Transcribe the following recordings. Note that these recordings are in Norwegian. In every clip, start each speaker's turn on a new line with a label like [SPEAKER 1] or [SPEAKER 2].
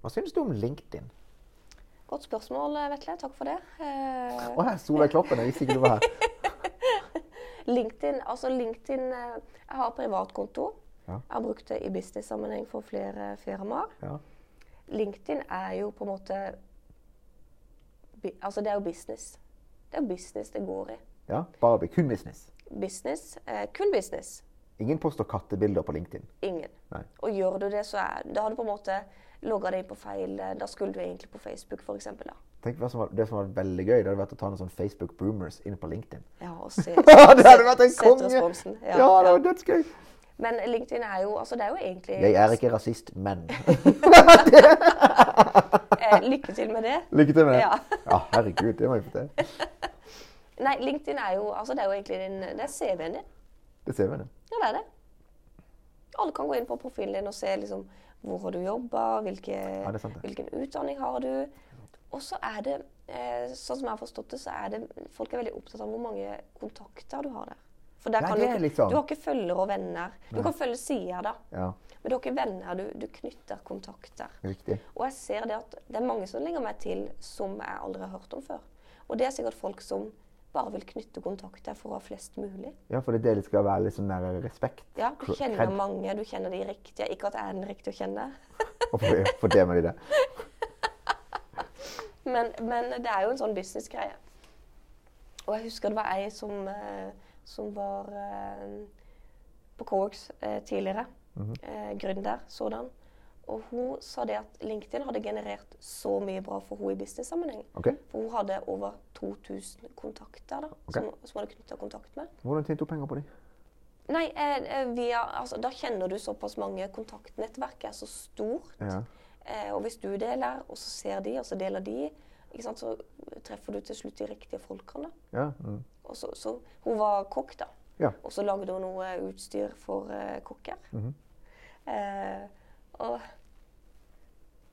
[SPEAKER 1] Hva syns du om LinkedIn?
[SPEAKER 2] Godt spørsmål, Vetle. Takk for det. Eh,
[SPEAKER 1] Å, her, Solveig Kloppen, jeg visste ikke du var her.
[SPEAKER 2] LinkedIn, altså LinkedIn eh, Jeg har privatkonto.
[SPEAKER 1] Ja.
[SPEAKER 2] Jeg har brukt det i business-sammenheng for flere firmaer.
[SPEAKER 1] Ja.
[SPEAKER 2] LinkedIn er jo på en måte bi- Altså, det er jo business. Det er jo business det går i.
[SPEAKER 1] Ja, bare be- kun business.
[SPEAKER 2] Business. Eh, kun business.
[SPEAKER 1] Ingen poster kattebilder på LinkedIn.
[SPEAKER 2] Ingen.
[SPEAKER 1] Nei.
[SPEAKER 2] Og gjør du det, så er Da har du på en måte logga deg inn på feil eh, Da skulle du egentlig på Facebook, f.eks. da.
[SPEAKER 1] Tenk hva som var, Det som var veldig gøy, det hadde vært å ta noen sånn Facebook boomers inn på LinkedIn.
[SPEAKER 2] Ja, og se,
[SPEAKER 1] det hadde vært en
[SPEAKER 2] sett
[SPEAKER 1] konge!
[SPEAKER 2] responsen.
[SPEAKER 1] Ja,
[SPEAKER 2] Ja,
[SPEAKER 1] det
[SPEAKER 2] ja.
[SPEAKER 1] var dødsgøy.
[SPEAKER 2] Men LinkedIn er jo Altså, det er jo egentlig
[SPEAKER 1] Jeg er ikke rasist, men
[SPEAKER 2] eh, Lykke til med det.
[SPEAKER 1] Lykke til med det.
[SPEAKER 2] Ja.
[SPEAKER 1] Ja, herregud, det må jeg få til.
[SPEAKER 2] Nei, LinkedIn er jo Altså, det er jo egentlig din Det er CV-en din.
[SPEAKER 1] Det ser vi nå.
[SPEAKER 2] Ja, det er det. Alle kan gå inn på profilen din og se liksom, hvor har du jobba, hvilke,
[SPEAKER 1] det er sant det.
[SPEAKER 2] hvilken utdanning har du. Og så er det, eh, sånn som jeg har forstått det, så er det folk er veldig opptatt av hvor mange kontakter du har der. For der
[SPEAKER 1] Ja,
[SPEAKER 2] kan
[SPEAKER 1] det
[SPEAKER 2] du,
[SPEAKER 1] er
[SPEAKER 2] ikke-
[SPEAKER 1] litt sånn.
[SPEAKER 2] du har ikke følgere og venner. Du kan følge sider, da.
[SPEAKER 1] Ja,
[SPEAKER 2] Men du har ikke venner. Du, du knytter kontakter.
[SPEAKER 1] riktig.
[SPEAKER 2] Og jeg ser det at det er mange som legger meg til som jeg aldri har hørt om før. Og det er sikkert folk som bare vil knytte kontakter for å ha flest mulig.
[SPEAKER 1] Ja, for det er det det skal være litt sånn der respekt.
[SPEAKER 2] Ja, du
[SPEAKER 1] Kred.
[SPEAKER 2] kjenner mange, du kjenner de riktige. Ikke at jeg er den riktige å kjenne,
[SPEAKER 1] Og for, for det med de det.
[SPEAKER 2] men, men det er jo en sånn businessgreie. Og jeg husker det var ei som, eh, som var eh, på Coworks eh, tidligere. eh, gründer, sådan. Og hun sa det at LinkedIn hadde generert så mye bra for henne i business-sammenheng.
[SPEAKER 1] Ok,
[SPEAKER 2] For hun hadde over 2000 kontakter da, som, som hun hadde knytta kontakt med.
[SPEAKER 1] Hvordan tjente hun penger på de?
[SPEAKER 2] Nei, eh, eh, via, altså, da kjenner du såpass mange. Kontaktnettverket er så stort.
[SPEAKER 1] Ja.
[SPEAKER 2] Eh, og hvis du deler, og så ser de, og så deler de, ikke sant, så treffer du til slutt de riktige folkene.
[SPEAKER 1] Ja, mm.
[SPEAKER 2] Og så, så hun var kokk, da.
[SPEAKER 1] Ja.
[SPEAKER 2] Og så lagde hun noe utstyr for eh, kokker.
[SPEAKER 1] Mhm.
[SPEAKER 2] eh, og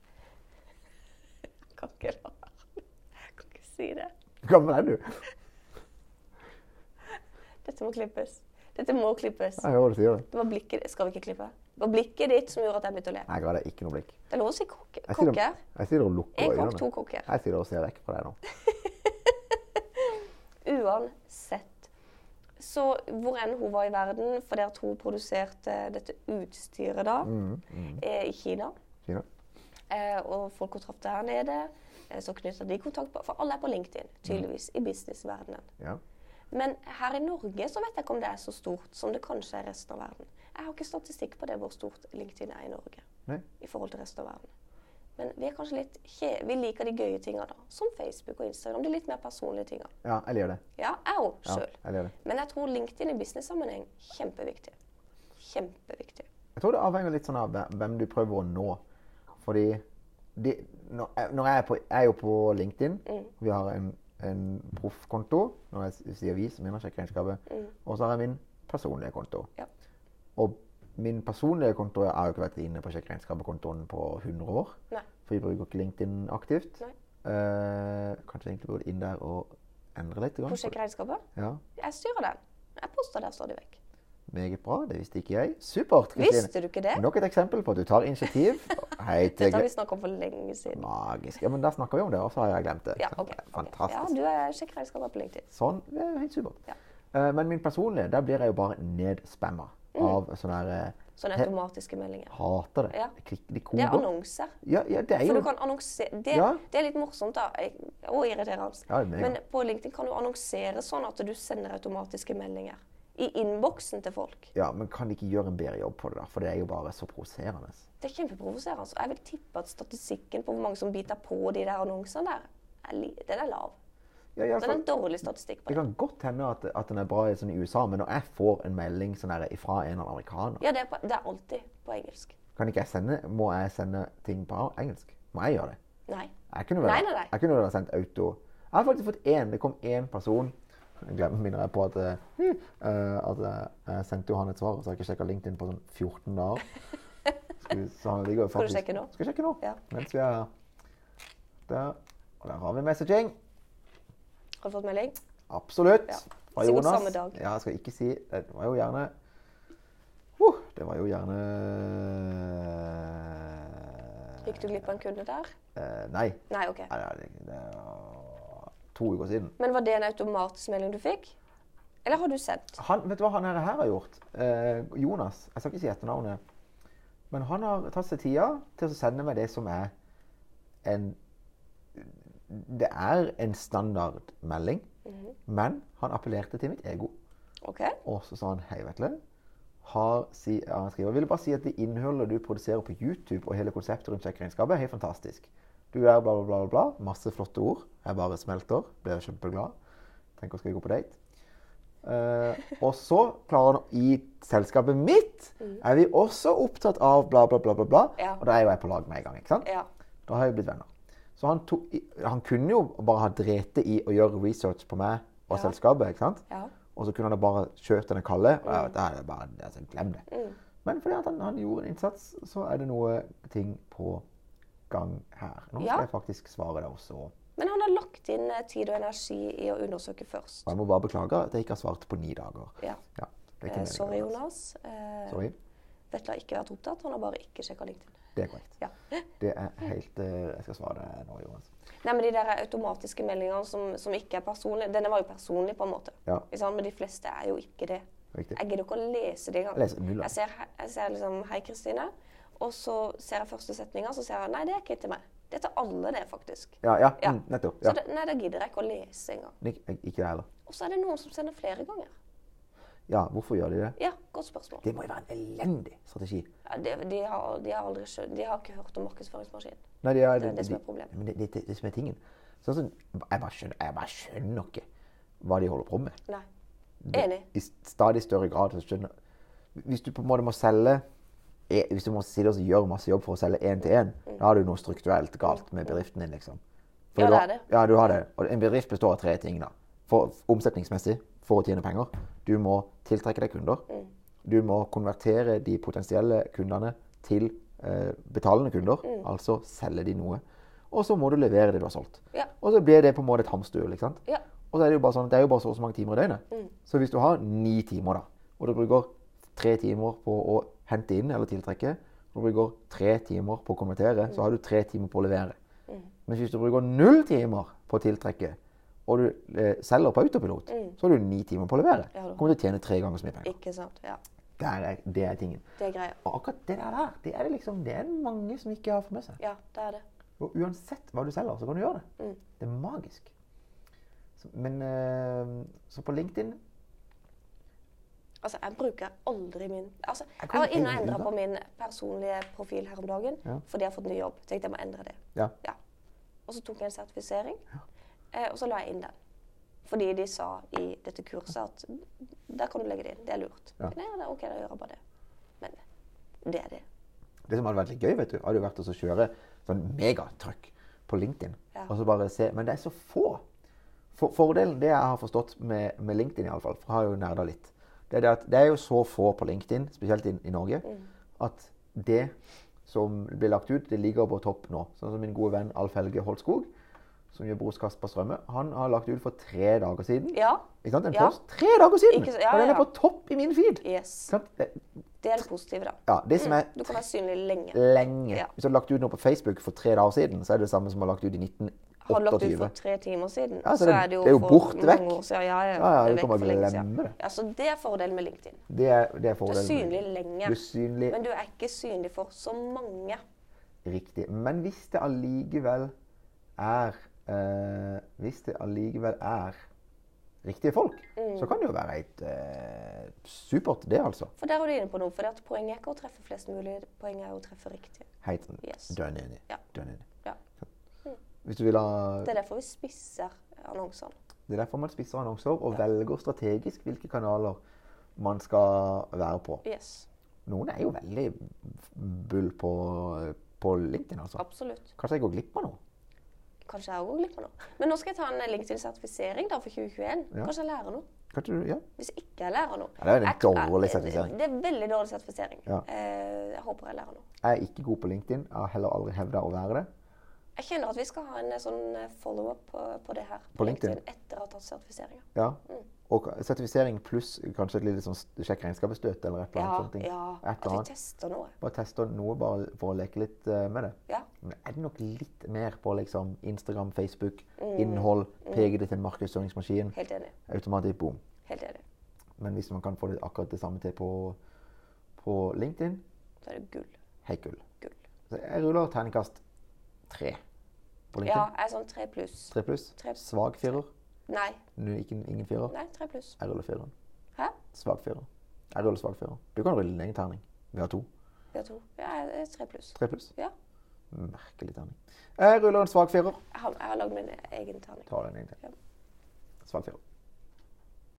[SPEAKER 2] Jeg kan ikke la være. Jeg kan ikke si det.
[SPEAKER 1] Hvor gammel er du?
[SPEAKER 2] Dette må klippes. Dette må klippes.
[SPEAKER 1] Jeg hører du sier det.
[SPEAKER 2] Det var blikket ditt. Skal vi ikke klippe? Det var blikket ditt som gjorde at jeg begynte å le.
[SPEAKER 1] Jeg ga deg ikke noe blikk.
[SPEAKER 2] Det er lov å si kokke-
[SPEAKER 1] Jeg sitter,
[SPEAKER 2] kokker.
[SPEAKER 1] jeg sitter og lukker
[SPEAKER 2] En kokk,
[SPEAKER 1] øynene.
[SPEAKER 2] to kokker.
[SPEAKER 1] Jeg sitter og ser vekk fra deg nå.
[SPEAKER 2] Uansett. Så hvor enn hun var i verden, fordi at hun produserte dette utstyret da, eh, i Kina,
[SPEAKER 1] Mm, Kina.
[SPEAKER 2] eh, og folk hun traff der nede, eh, så knytta de kontakt på For alle er på LinkedIn, tydeligvis, i businessverdenen.
[SPEAKER 1] Ja.
[SPEAKER 2] Men her i Norge så vet jeg ikke om det er så stort som det kanskje er i resten av verden. Jeg har ikke statistikk på det hvor stort LinkedIn er i Norge
[SPEAKER 1] Nei.
[SPEAKER 2] i forhold til resten av verden. Men vi er kanskje litt kje vi liker de gøye tinga, da. Som Facebook og Instagram. De litt mer personlige tinga.
[SPEAKER 1] ja, jeg liker det.
[SPEAKER 2] Ja, jeg òg
[SPEAKER 1] Ja,
[SPEAKER 2] sjøl.
[SPEAKER 1] jeg liker det.
[SPEAKER 2] Men jeg tror LinkedIn i business-sammenheng kjempeviktig. Kjempeviktig.
[SPEAKER 1] Jeg tror det avhenger litt sånn av hvem- hvem du prøver å nå. Fordi de, når jeg- når jeg, er på, jeg er jo på LinkedIn.
[SPEAKER 2] Mm.
[SPEAKER 1] Vi har en, en proffkonto. Når jeg s- sier vi, så mener jeg sjekkeregnskapet. Og så har jeg min personlige konto.
[SPEAKER 2] Mm. Ja.
[SPEAKER 1] Og min personlige konto jeg har jo ikke vært inne på sjekkeregnskapet-kontoen på 100 år.
[SPEAKER 2] Nei.
[SPEAKER 1] For vi bruker ikke LinkedIn aktivt.
[SPEAKER 2] Nei.
[SPEAKER 1] Eh, kanskje jeg egentlig burde inn der og endre litt. grann på det.
[SPEAKER 2] Prosjektregnskapet?
[SPEAKER 1] Ja,
[SPEAKER 2] Jeg styrer den. Jeg poster der stadig vekk.
[SPEAKER 1] Meget bra. Det visste ikke jeg. Supert, Kristine.
[SPEAKER 2] Visste du ikke det?
[SPEAKER 1] Nok et eksempel på at du tar initiativ. Hei til
[SPEAKER 2] Dette har vi snakka om for lenge siden.
[SPEAKER 1] Magisk. Ja, men der snakker vi om det, og så har jeg glemt det.
[SPEAKER 2] Ja, ok. ok. Ja,
[SPEAKER 1] Fantastisk.
[SPEAKER 2] du er sjekkeregnskaper på LinkedIn.
[SPEAKER 1] Sånn. Det er helt supert.
[SPEAKER 2] Ja.
[SPEAKER 1] Eh, Men min personlige, der blir jeg jo bare nedspamma
[SPEAKER 2] Mm.
[SPEAKER 1] av sånne her eh,
[SPEAKER 2] Sånne
[SPEAKER 1] Jeg
[SPEAKER 2] automatiske meldinger.
[SPEAKER 1] hater det.
[SPEAKER 2] Ja.
[SPEAKER 1] Jeg klikker- De
[SPEAKER 2] Det
[SPEAKER 1] koder.
[SPEAKER 2] er annonser.
[SPEAKER 1] Ja, ja, det er
[SPEAKER 2] For
[SPEAKER 1] jo
[SPEAKER 2] du kan annonsere det,
[SPEAKER 1] Ja.
[SPEAKER 2] det er litt morsomt da, jeg- og irriterende.
[SPEAKER 1] Ja, det er mega.
[SPEAKER 2] Men på LinkedIn kan du annonsere sånn at du sender automatiske meldinger. I innboksen til folk.
[SPEAKER 1] Ja, men kan de ikke gjøre en bedre jobb på det, da? For det er jo bare så provoserende.
[SPEAKER 2] Det er kjempeprovoserende. altså. Jeg vil tippe at statistikken på hvor mange som biter på de der annonsene der, er li den er lav.
[SPEAKER 1] Ja, i alle
[SPEAKER 2] Så det er
[SPEAKER 1] fall,
[SPEAKER 2] en dårlig statistikk på
[SPEAKER 1] det
[SPEAKER 2] det.
[SPEAKER 1] kan godt hende at, at den er bra i- sånn i USA, men når jeg får en melding sånn her fra en eller annen amerikaner
[SPEAKER 2] Ja, det er, på, det er alltid på engelsk.
[SPEAKER 1] Kan ikke jeg sende, Må jeg sende ting på engelsk? Må jeg gjøre det?
[SPEAKER 2] Nei.
[SPEAKER 1] Jeg kunne vel,
[SPEAKER 2] Nei, nei, nei.
[SPEAKER 1] Jeg kunne vel ha sendt auto. Jeg har faktisk fått én. Det kom én person. Jeg glemmer minner jeg på at, eh, eh, at jeg- jeg sendte jo han et svar, så har jeg ikke sjekka LinkedIn på sånn 14 dager. Skal, vi- så han ligger jo
[SPEAKER 2] Skal du
[SPEAKER 1] faktisk-
[SPEAKER 2] sjekke nå?
[SPEAKER 1] Skal jeg sjekke nå.
[SPEAKER 2] Ja.
[SPEAKER 1] Mens vi er der. Og der har vi messaging.
[SPEAKER 2] Har du fått melding?
[SPEAKER 1] Absolutt.
[SPEAKER 2] Ja.
[SPEAKER 1] Fra
[SPEAKER 2] Sikkert
[SPEAKER 1] Jonas.
[SPEAKER 2] samme dag.
[SPEAKER 1] Ja, jeg skal ikke si Det var jo gjerne uh, Det var jo gjerne
[SPEAKER 2] Gikk du glipp av en kunde der?
[SPEAKER 1] Eh, nei.
[SPEAKER 2] Nei, OK.
[SPEAKER 1] Nei, det, er- det er to uker siden.
[SPEAKER 2] Men var det en automatisk melding du fikk? Eller har du sendt?
[SPEAKER 1] Han, vet du hva han her her har gjort? Eh, Jonas. Jeg skal ikke si etternavnet. Men han har tatt seg tida til å sende meg det som er en Det er en standardmelding, men han appellerte til mitt ego.
[SPEAKER 2] OK?
[SPEAKER 1] Og så sa han hei, Vetle. Har, si, ja, han skriver, vil bare si at det innholdet du produserer på YouTube og hele konseptet rundt sjekkeregnskapet er helt fantastisk. Du er bla, bla, bla, bla, bla. Masse flotte ord. Jeg bare smelter. Blir kjempeglad. Tenker skal vi gå på date. Eh, og så klarer han i selskapet mitt er vi også opptatt av bla, bla, bla, bla, bla.
[SPEAKER 2] Mm. Ja.
[SPEAKER 1] Og da er jo jeg på lag med en gang. ikke sant?
[SPEAKER 2] Ja.
[SPEAKER 1] Da har jeg blitt venner. Så han, tok, i- han kunne jo bare ha drete i å gjøre research på meg og
[SPEAKER 2] Ja.
[SPEAKER 1] selskapet. ikke sant?
[SPEAKER 2] Ja.
[SPEAKER 1] Og så kunne han da bare kjørt denne kalde. Og
[SPEAKER 2] Mm.
[SPEAKER 1] jeg, vet, det er bare, altså, glem det. Men fordi at han, han gjorde en innsats, så er det noe ting på gang her. Nå skal
[SPEAKER 2] Ja.
[SPEAKER 1] jeg faktisk svare deg også.
[SPEAKER 2] Men han har lagt inn eh, tid og energi i å undersøke først.
[SPEAKER 1] Og jeg må bare beklage at jeg ikke har svart på ni dager.
[SPEAKER 2] Ja.
[SPEAKER 1] Ja, det er ikke
[SPEAKER 2] Eh,
[SPEAKER 1] meningen,
[SPEAKER 2] sorry,
[SPEAKER 1] altså.
[SPEAKER 2] Jonas. Eh,
[SPEAKER 1] Sorry.
[SPEAKER 2] Vetle har ikke vært opptatt. Han har bare ikke sjekka LinkedIn.
[SPEAKER 1] Det er korrekt.
[SPEAKER 2] Ja.
[SPEAKER 1] Det er helt eh, Jeg skal svare deg nå, Jonas.
[SPEAKER 2] Nei, men De der automatiske meldingene som, som ikke er personlige Denne var jo personlig, på en måte.
[SPEAKER 1] Ja.
[SPEAKER 2] Ikke sant? Men de fleste er jo ikke det.
[SPEAKER 1] Riktig.
[SPEAKER 2] Jeg gidder ikke å lese det engang.
[SPEAKER 1] Leser null av
[SPEAKER 2] Jeg ser, he- jeg ser liksom 'Hei, Kristine', og så ser jeg første setninga, så ser jeg 'Nei, det er ikke til meg'. Det er til alle, det, faktisk.
[SPEAKER 1] Ja, ja,
[SPEAKER 2] Ja.
[SPEAKER 1] Mm, nettopp.
[SPEAKER 2] Så
[SPEAKER 1] Ja.
[SPEAKER 2] det, nei, det gidder jeg ikke å lese engang.
[SPEAKER 1] Nick, jeg- ikke jeg heller.
[SPEAKER 2] Og så er det noen som sender flere ganger.
[SPEAKER 1] Ja, hvorfor gjør de det?
[SPEAKER 2] Ja, godt spørsmål.
[SPEAKER 1] Det må jo være en elendig strategi.
[SPEAKER 2] Ja, de, de, har, de, har aldri, skjø- de har ikke hørt om markedsføringsmaskin.
[SPEAKER 1] Nei, det, er,
[SPEAKER 2] Det er det som er problemet.
[SPEAKER 1] Men det, det, det, som er tingen. Sånn som, jeg, bare skjønner, jeg bare skjønner ikke hva de holder på med.
[SPEAKER 2] Nei. Enig.
[SPEAKER 1] I stadig større grad så skjønner Hvis du på en måte må selge eh, Hvis du må sitte og gjøre masse jobb for å selge én til én, da har du noe strukturelt galt med bedriften din, liksom.
[SPEAKER 2] Mm. Ja,
[SPEAKER 1] da,
[SPEAKER 2] det er det.
[SPEAKER 1] Ja, du har det. Og en bedrift består av tre ting, da. For, omsetningsmessig, for å tjene penger. Du må tiltrekke deg kunder.
[SPEAKER 2] Mm.
[SPEAKER 1] Du må konvertere de potensielle kundene til eh, betalende kunder,
[SPEAKER 2] Mm.
[SPEAKER 1] altså selge de noe. Og så må du levere det du har solgt.
[SPEAKER 2] Ja.
[SPEAKER 1] Og så blir det på en måte et hamsterhjul. ikke sant?
[SPEAKER 2] Ja.
[SPEAKER 1] Og så er det jo bare sånn at det er jo bare så og så mange timer i døgnet.
[SPEAKER 2] Mm.
[SPEAKER 1] Så hvis du har ni timer, da, og du bruker tre timer på å hente inn eller tiltrekke, og du bruker tre timer på å konvertere,
[SPEAKER 2] Mm.
[SPEAKER 1] så har du tre timer på å levere. Men hvis du bruker null timer på å tiltrekke, og du eh, selger på autopilot, så har du ni timer på å levere.
[SPEAKER 2] Mm. Ja, da.
[SPEAKER 1] Kommer til å tjene tre ganger så mye penger.
[SPEAKER 2] Ikke sant. Ja.
[SPEAKER 1] Der er, det er tingen.
[SPEAKER 2] Det er greia.
[SPEAKER 1] Og akkurat det der, der, det er det liksom, det er det mange som ikke har fått med seg.
[SPEAKER 2] Ja, det er det.
[SPEAKER 1] Og uansett hva du selger, så kan du gjøre det. Det er magisk. Så, men eh, Så på LinkedIn
[SPEAKER 2] Altså, jeg bruker aldri min altså, Jeg
[SPEAKER 1] kan
[SPEAKER 2] var inne
[SPEAKER 1] ikke
[SPEAKER 2] og endra
[SPEAKER 1] bruke
[SPEAKER 2] på min personlige profil her om dagen
[SPEAKER 1] Ja.
[SPEAKER 2] fordi jeg har fått ny jobb. Tenkte jeg må endre det.
[SPEAKER 1] Ja.
[SPEAKER 2] Ja. Og så tok jeg en sertifisering, eh, og så la jeg inn den. Fordi de sa i dette kurset at der kan du legge det inn. Det er lurt.
[SPEAKER 1] Ja.
[SPEAKER 2] Nei, det er OK, da gjør jeg bare det. Men det er det.
[SPEAKER 1] Det som hadde vært litt gøy, vet du, hadde jo vært å så kjøre sånn megatrøkk på LinkedIn.
[SPEAKER 2] Ja.
[SPEAKER 1] Og så bare se, Men det er så få. For, fordelen, det jeg har forstått med, med LinkedIn, iallfall, for jeg har jo nerda litt, det er det at det er jo så få på LinkedIn, spesielt i, i Norge, at det som blir lagt ut, det ligger på topp nå. Sånn som min gode venn Alf Helge Holtskog, som gjør Brors Kasper Strømme, han har lagt ut for tre dager siden.
[SPEAKER 2] Ja.
[SPEAKER 1] Ikke sant? En
[SPEAKER 2] Ja.
[SPEAKER 1] post tre dager siden!
[SPEAKER 2] Ikke så- ja,
[SPEAKER 1] og den
[SPEAKER 2] ja,
[SPEAKER 1] er
[SPEAKER 2] ja.
[SPEAKER 1] på topp i min feed! Ikke
[SPEAKER 2] Yes.
[SPEAKER 1] sant? Det-
[SPEAKER 2] Det er det positive, da.
[SPEAKER 1] Ja, det som er
[SPEAKER 2] Du kan være synlig lenge.
[SPEAKER 1] lenge.
[SPEAKER 2] Ja.
[SPEAKER 1] Hvis du hadde lagt ut noe på Facebook for tre dager siden, så er det det samme som å ha lagt ut i
[SPEAKER 2] Har du lagt ut
[SPEAKER 1] 1928.
[SPEAKER 2] for tre timer siden,
[SPEAKER 1] Ja, så
[SPEAKER 2] så,
[SPEAKER 1] det-
[SPEAKER 2] er det jo,
[SPEAKER 1] det er jo
[SPEAKER 2] for
[SPEAKER 1] borte
[SPEAKER 2] mange
[SPEAKER 1] vekk.
[SPEAKER 2] År siden. Ja, ja,
[SPEAKER 1] Ja, ja,
[SPEAKER 2] det er
[SPEAKER 1] du
[SPEAKER 2] vekk
[SPEAKER 1] kan bare
[SPEAKER 2] for lenge siden.
[SPEAKER 1] glemme det.
[SPEAKER 2] Ja, så det er fordelen med LinkedIn.
[SPEAKER 1] Det er, det er
[SPEAKER 2] Du er
[SPEAKER 1] fordelen.
[SPEAKER 2] synlig lenge,
[SPEAKER 1] Du er synlig
[SPEAKER 2] men du er ikke synlig for så mange.
[SPEAKER 1] riktig. Men hvis det allikevel er eh, Hvis det allikevel er riktige folk,
[SPEAKER 2] Mm.
[SPEAKER 1] så kan det jo være et eh, supert, det, altså.
[SPEAKER 2] For der er du inne på noe, for det at poenget er ikke å treffe flest mulig, poenget er å treffe riktig.
[SPEAKER 1] Helt
[SPEAKER 2] Yes.
[SPEAKER 1] dønn enig.
[SPEAKER 2] Ja.
[SPEAKER 1] Dønn enig.
[SPEAKER 2] Ja. Mm.
[SPEAKER 1] Hvis du vil ha
[SPEAKER 2] Det er derfor vi spisser annonsene.
[SPEAKER 1] Det er derfor man spisser annonser og velger strategisk hvilke kanaler man skal være på.
[SPEAKER 2] Yes,
[SPEAKER 1] Noen er jo veldig bull på, på LinkedIn, altså.
[SPEAKER 2] absolutt.
[SPEAKER 1] Kanskje jeg går glipp av noe?
[SPEAKER 2] Kanskje jeg òg går glipp av noe. Men nå skal jeg ta en LinkedIn-sertifisering da for 2021.
[SPEAKER 1] Ja.
[SPEAKER 2] Kanskje jeg lærer noe.
[SPEAKER 1] Kanskje du, ja.
[SPEAKER 2] Hvis jeg ikke jeg lærer noe
[SPEAKER 1] Ja, det er jo en
[SPEAKER 2] Jeg- jeg-
[SPEAKER 1] dårlig sertifisering.
[SPEAKER 2] Det er veldig dårlig sertifisering.
[SPEAKER 1] Ja.
[SPEAKER 2] Eh, Jeg håper jeg lærer noe.
[SPEAKER 1] Jeg er ikke god på LinkedIn. Jeg har heller aldri hevda å være det.
[SPEAKER 2] Jeg kjenner at vi skal ha en eh, sånn eh, follow-up på, på det her.
[SPEAKER 1] På LinkedIn?
[SPEAKER 2] Etter å ha tatt sertifiseringa.
[SPEAKER 1] Ja.
[SPEAKER 2] Mm.
[SPEAKER 1] Og ka- sertifisering pluss kanskje et lite sånn s- sjekk regnskapsstøt eller et eller
[SPEAKER 2] Ja,
[SPEAKER 1] annet. sånt ting.
[SPEAKER 2] ja.
[SPEAKER 1] Et
[SPEAKER 2] At
[SPEAKER 1] eller
[SPEAKER 2] vi
[SPEAKER 1] annet.
[SPEAKER 2] tester noe.
[SPEAKER 1] Bare teste noe bare for å leke litt eh, med det.
[SPEAKER 2] Ja.
[SPEAKER 1] Men er det nok litt mer på liksom Instagram, Facebook,
[SPEAKER 2] Mm.
[SPEAKER 1] innhold, pege det til en markedsføringsmaskin,
[SPEAKER 2] Helt enig.
[SPEAKER 1] automatisk boom.
[SPEAKER 2] Helt enig.
[SPEAKER 1] Men hvis man kan få det akkurat det samme til på, på LinkedIn,
[SPEAKER 2] Da er det gull.
[SPEAKER 1] hei gull.
[SPEAKER 2] Gull.
[SPEAKER 1] Så jeg ruller terningkast tre på
[SPEAKER 2] Ja,
[SPEAKER 1] LinkedIn.
[SPEAKER 2] jeg er sånn tre pluss.
[SPEAKER 1] Tre pluss.
[SPEAKER 2] Tre-
[SPEAKER 1] Svak firer.
[SPEAKER 2] Nei,
[SPEAKER 1] Nu- Ikke, ingen firer.
[SPEAKER 2] nei, tre pluss.
[SPEAKER 1] Jeg ruller fireren.
[SPEAKER 2] Hæ?
[SPEAKER 1] Svak firer. Jeg ruller svak firer. Du kan rulle din egen terning. Vi har to.
[SPEAKER 2] Vi har to. Ja, jeg er tre pluss.
[SPEAKER 1] Tre pluss.
[SPEAKER 2] Ja.
[SPEAKER 1] Merkelig terning. Jeg ruller en svak firer.
[SPEAKER 2] Jeg har, jeg har lagd min egen terning.
[SPEAKER 1] Ta den en til. Svak firer.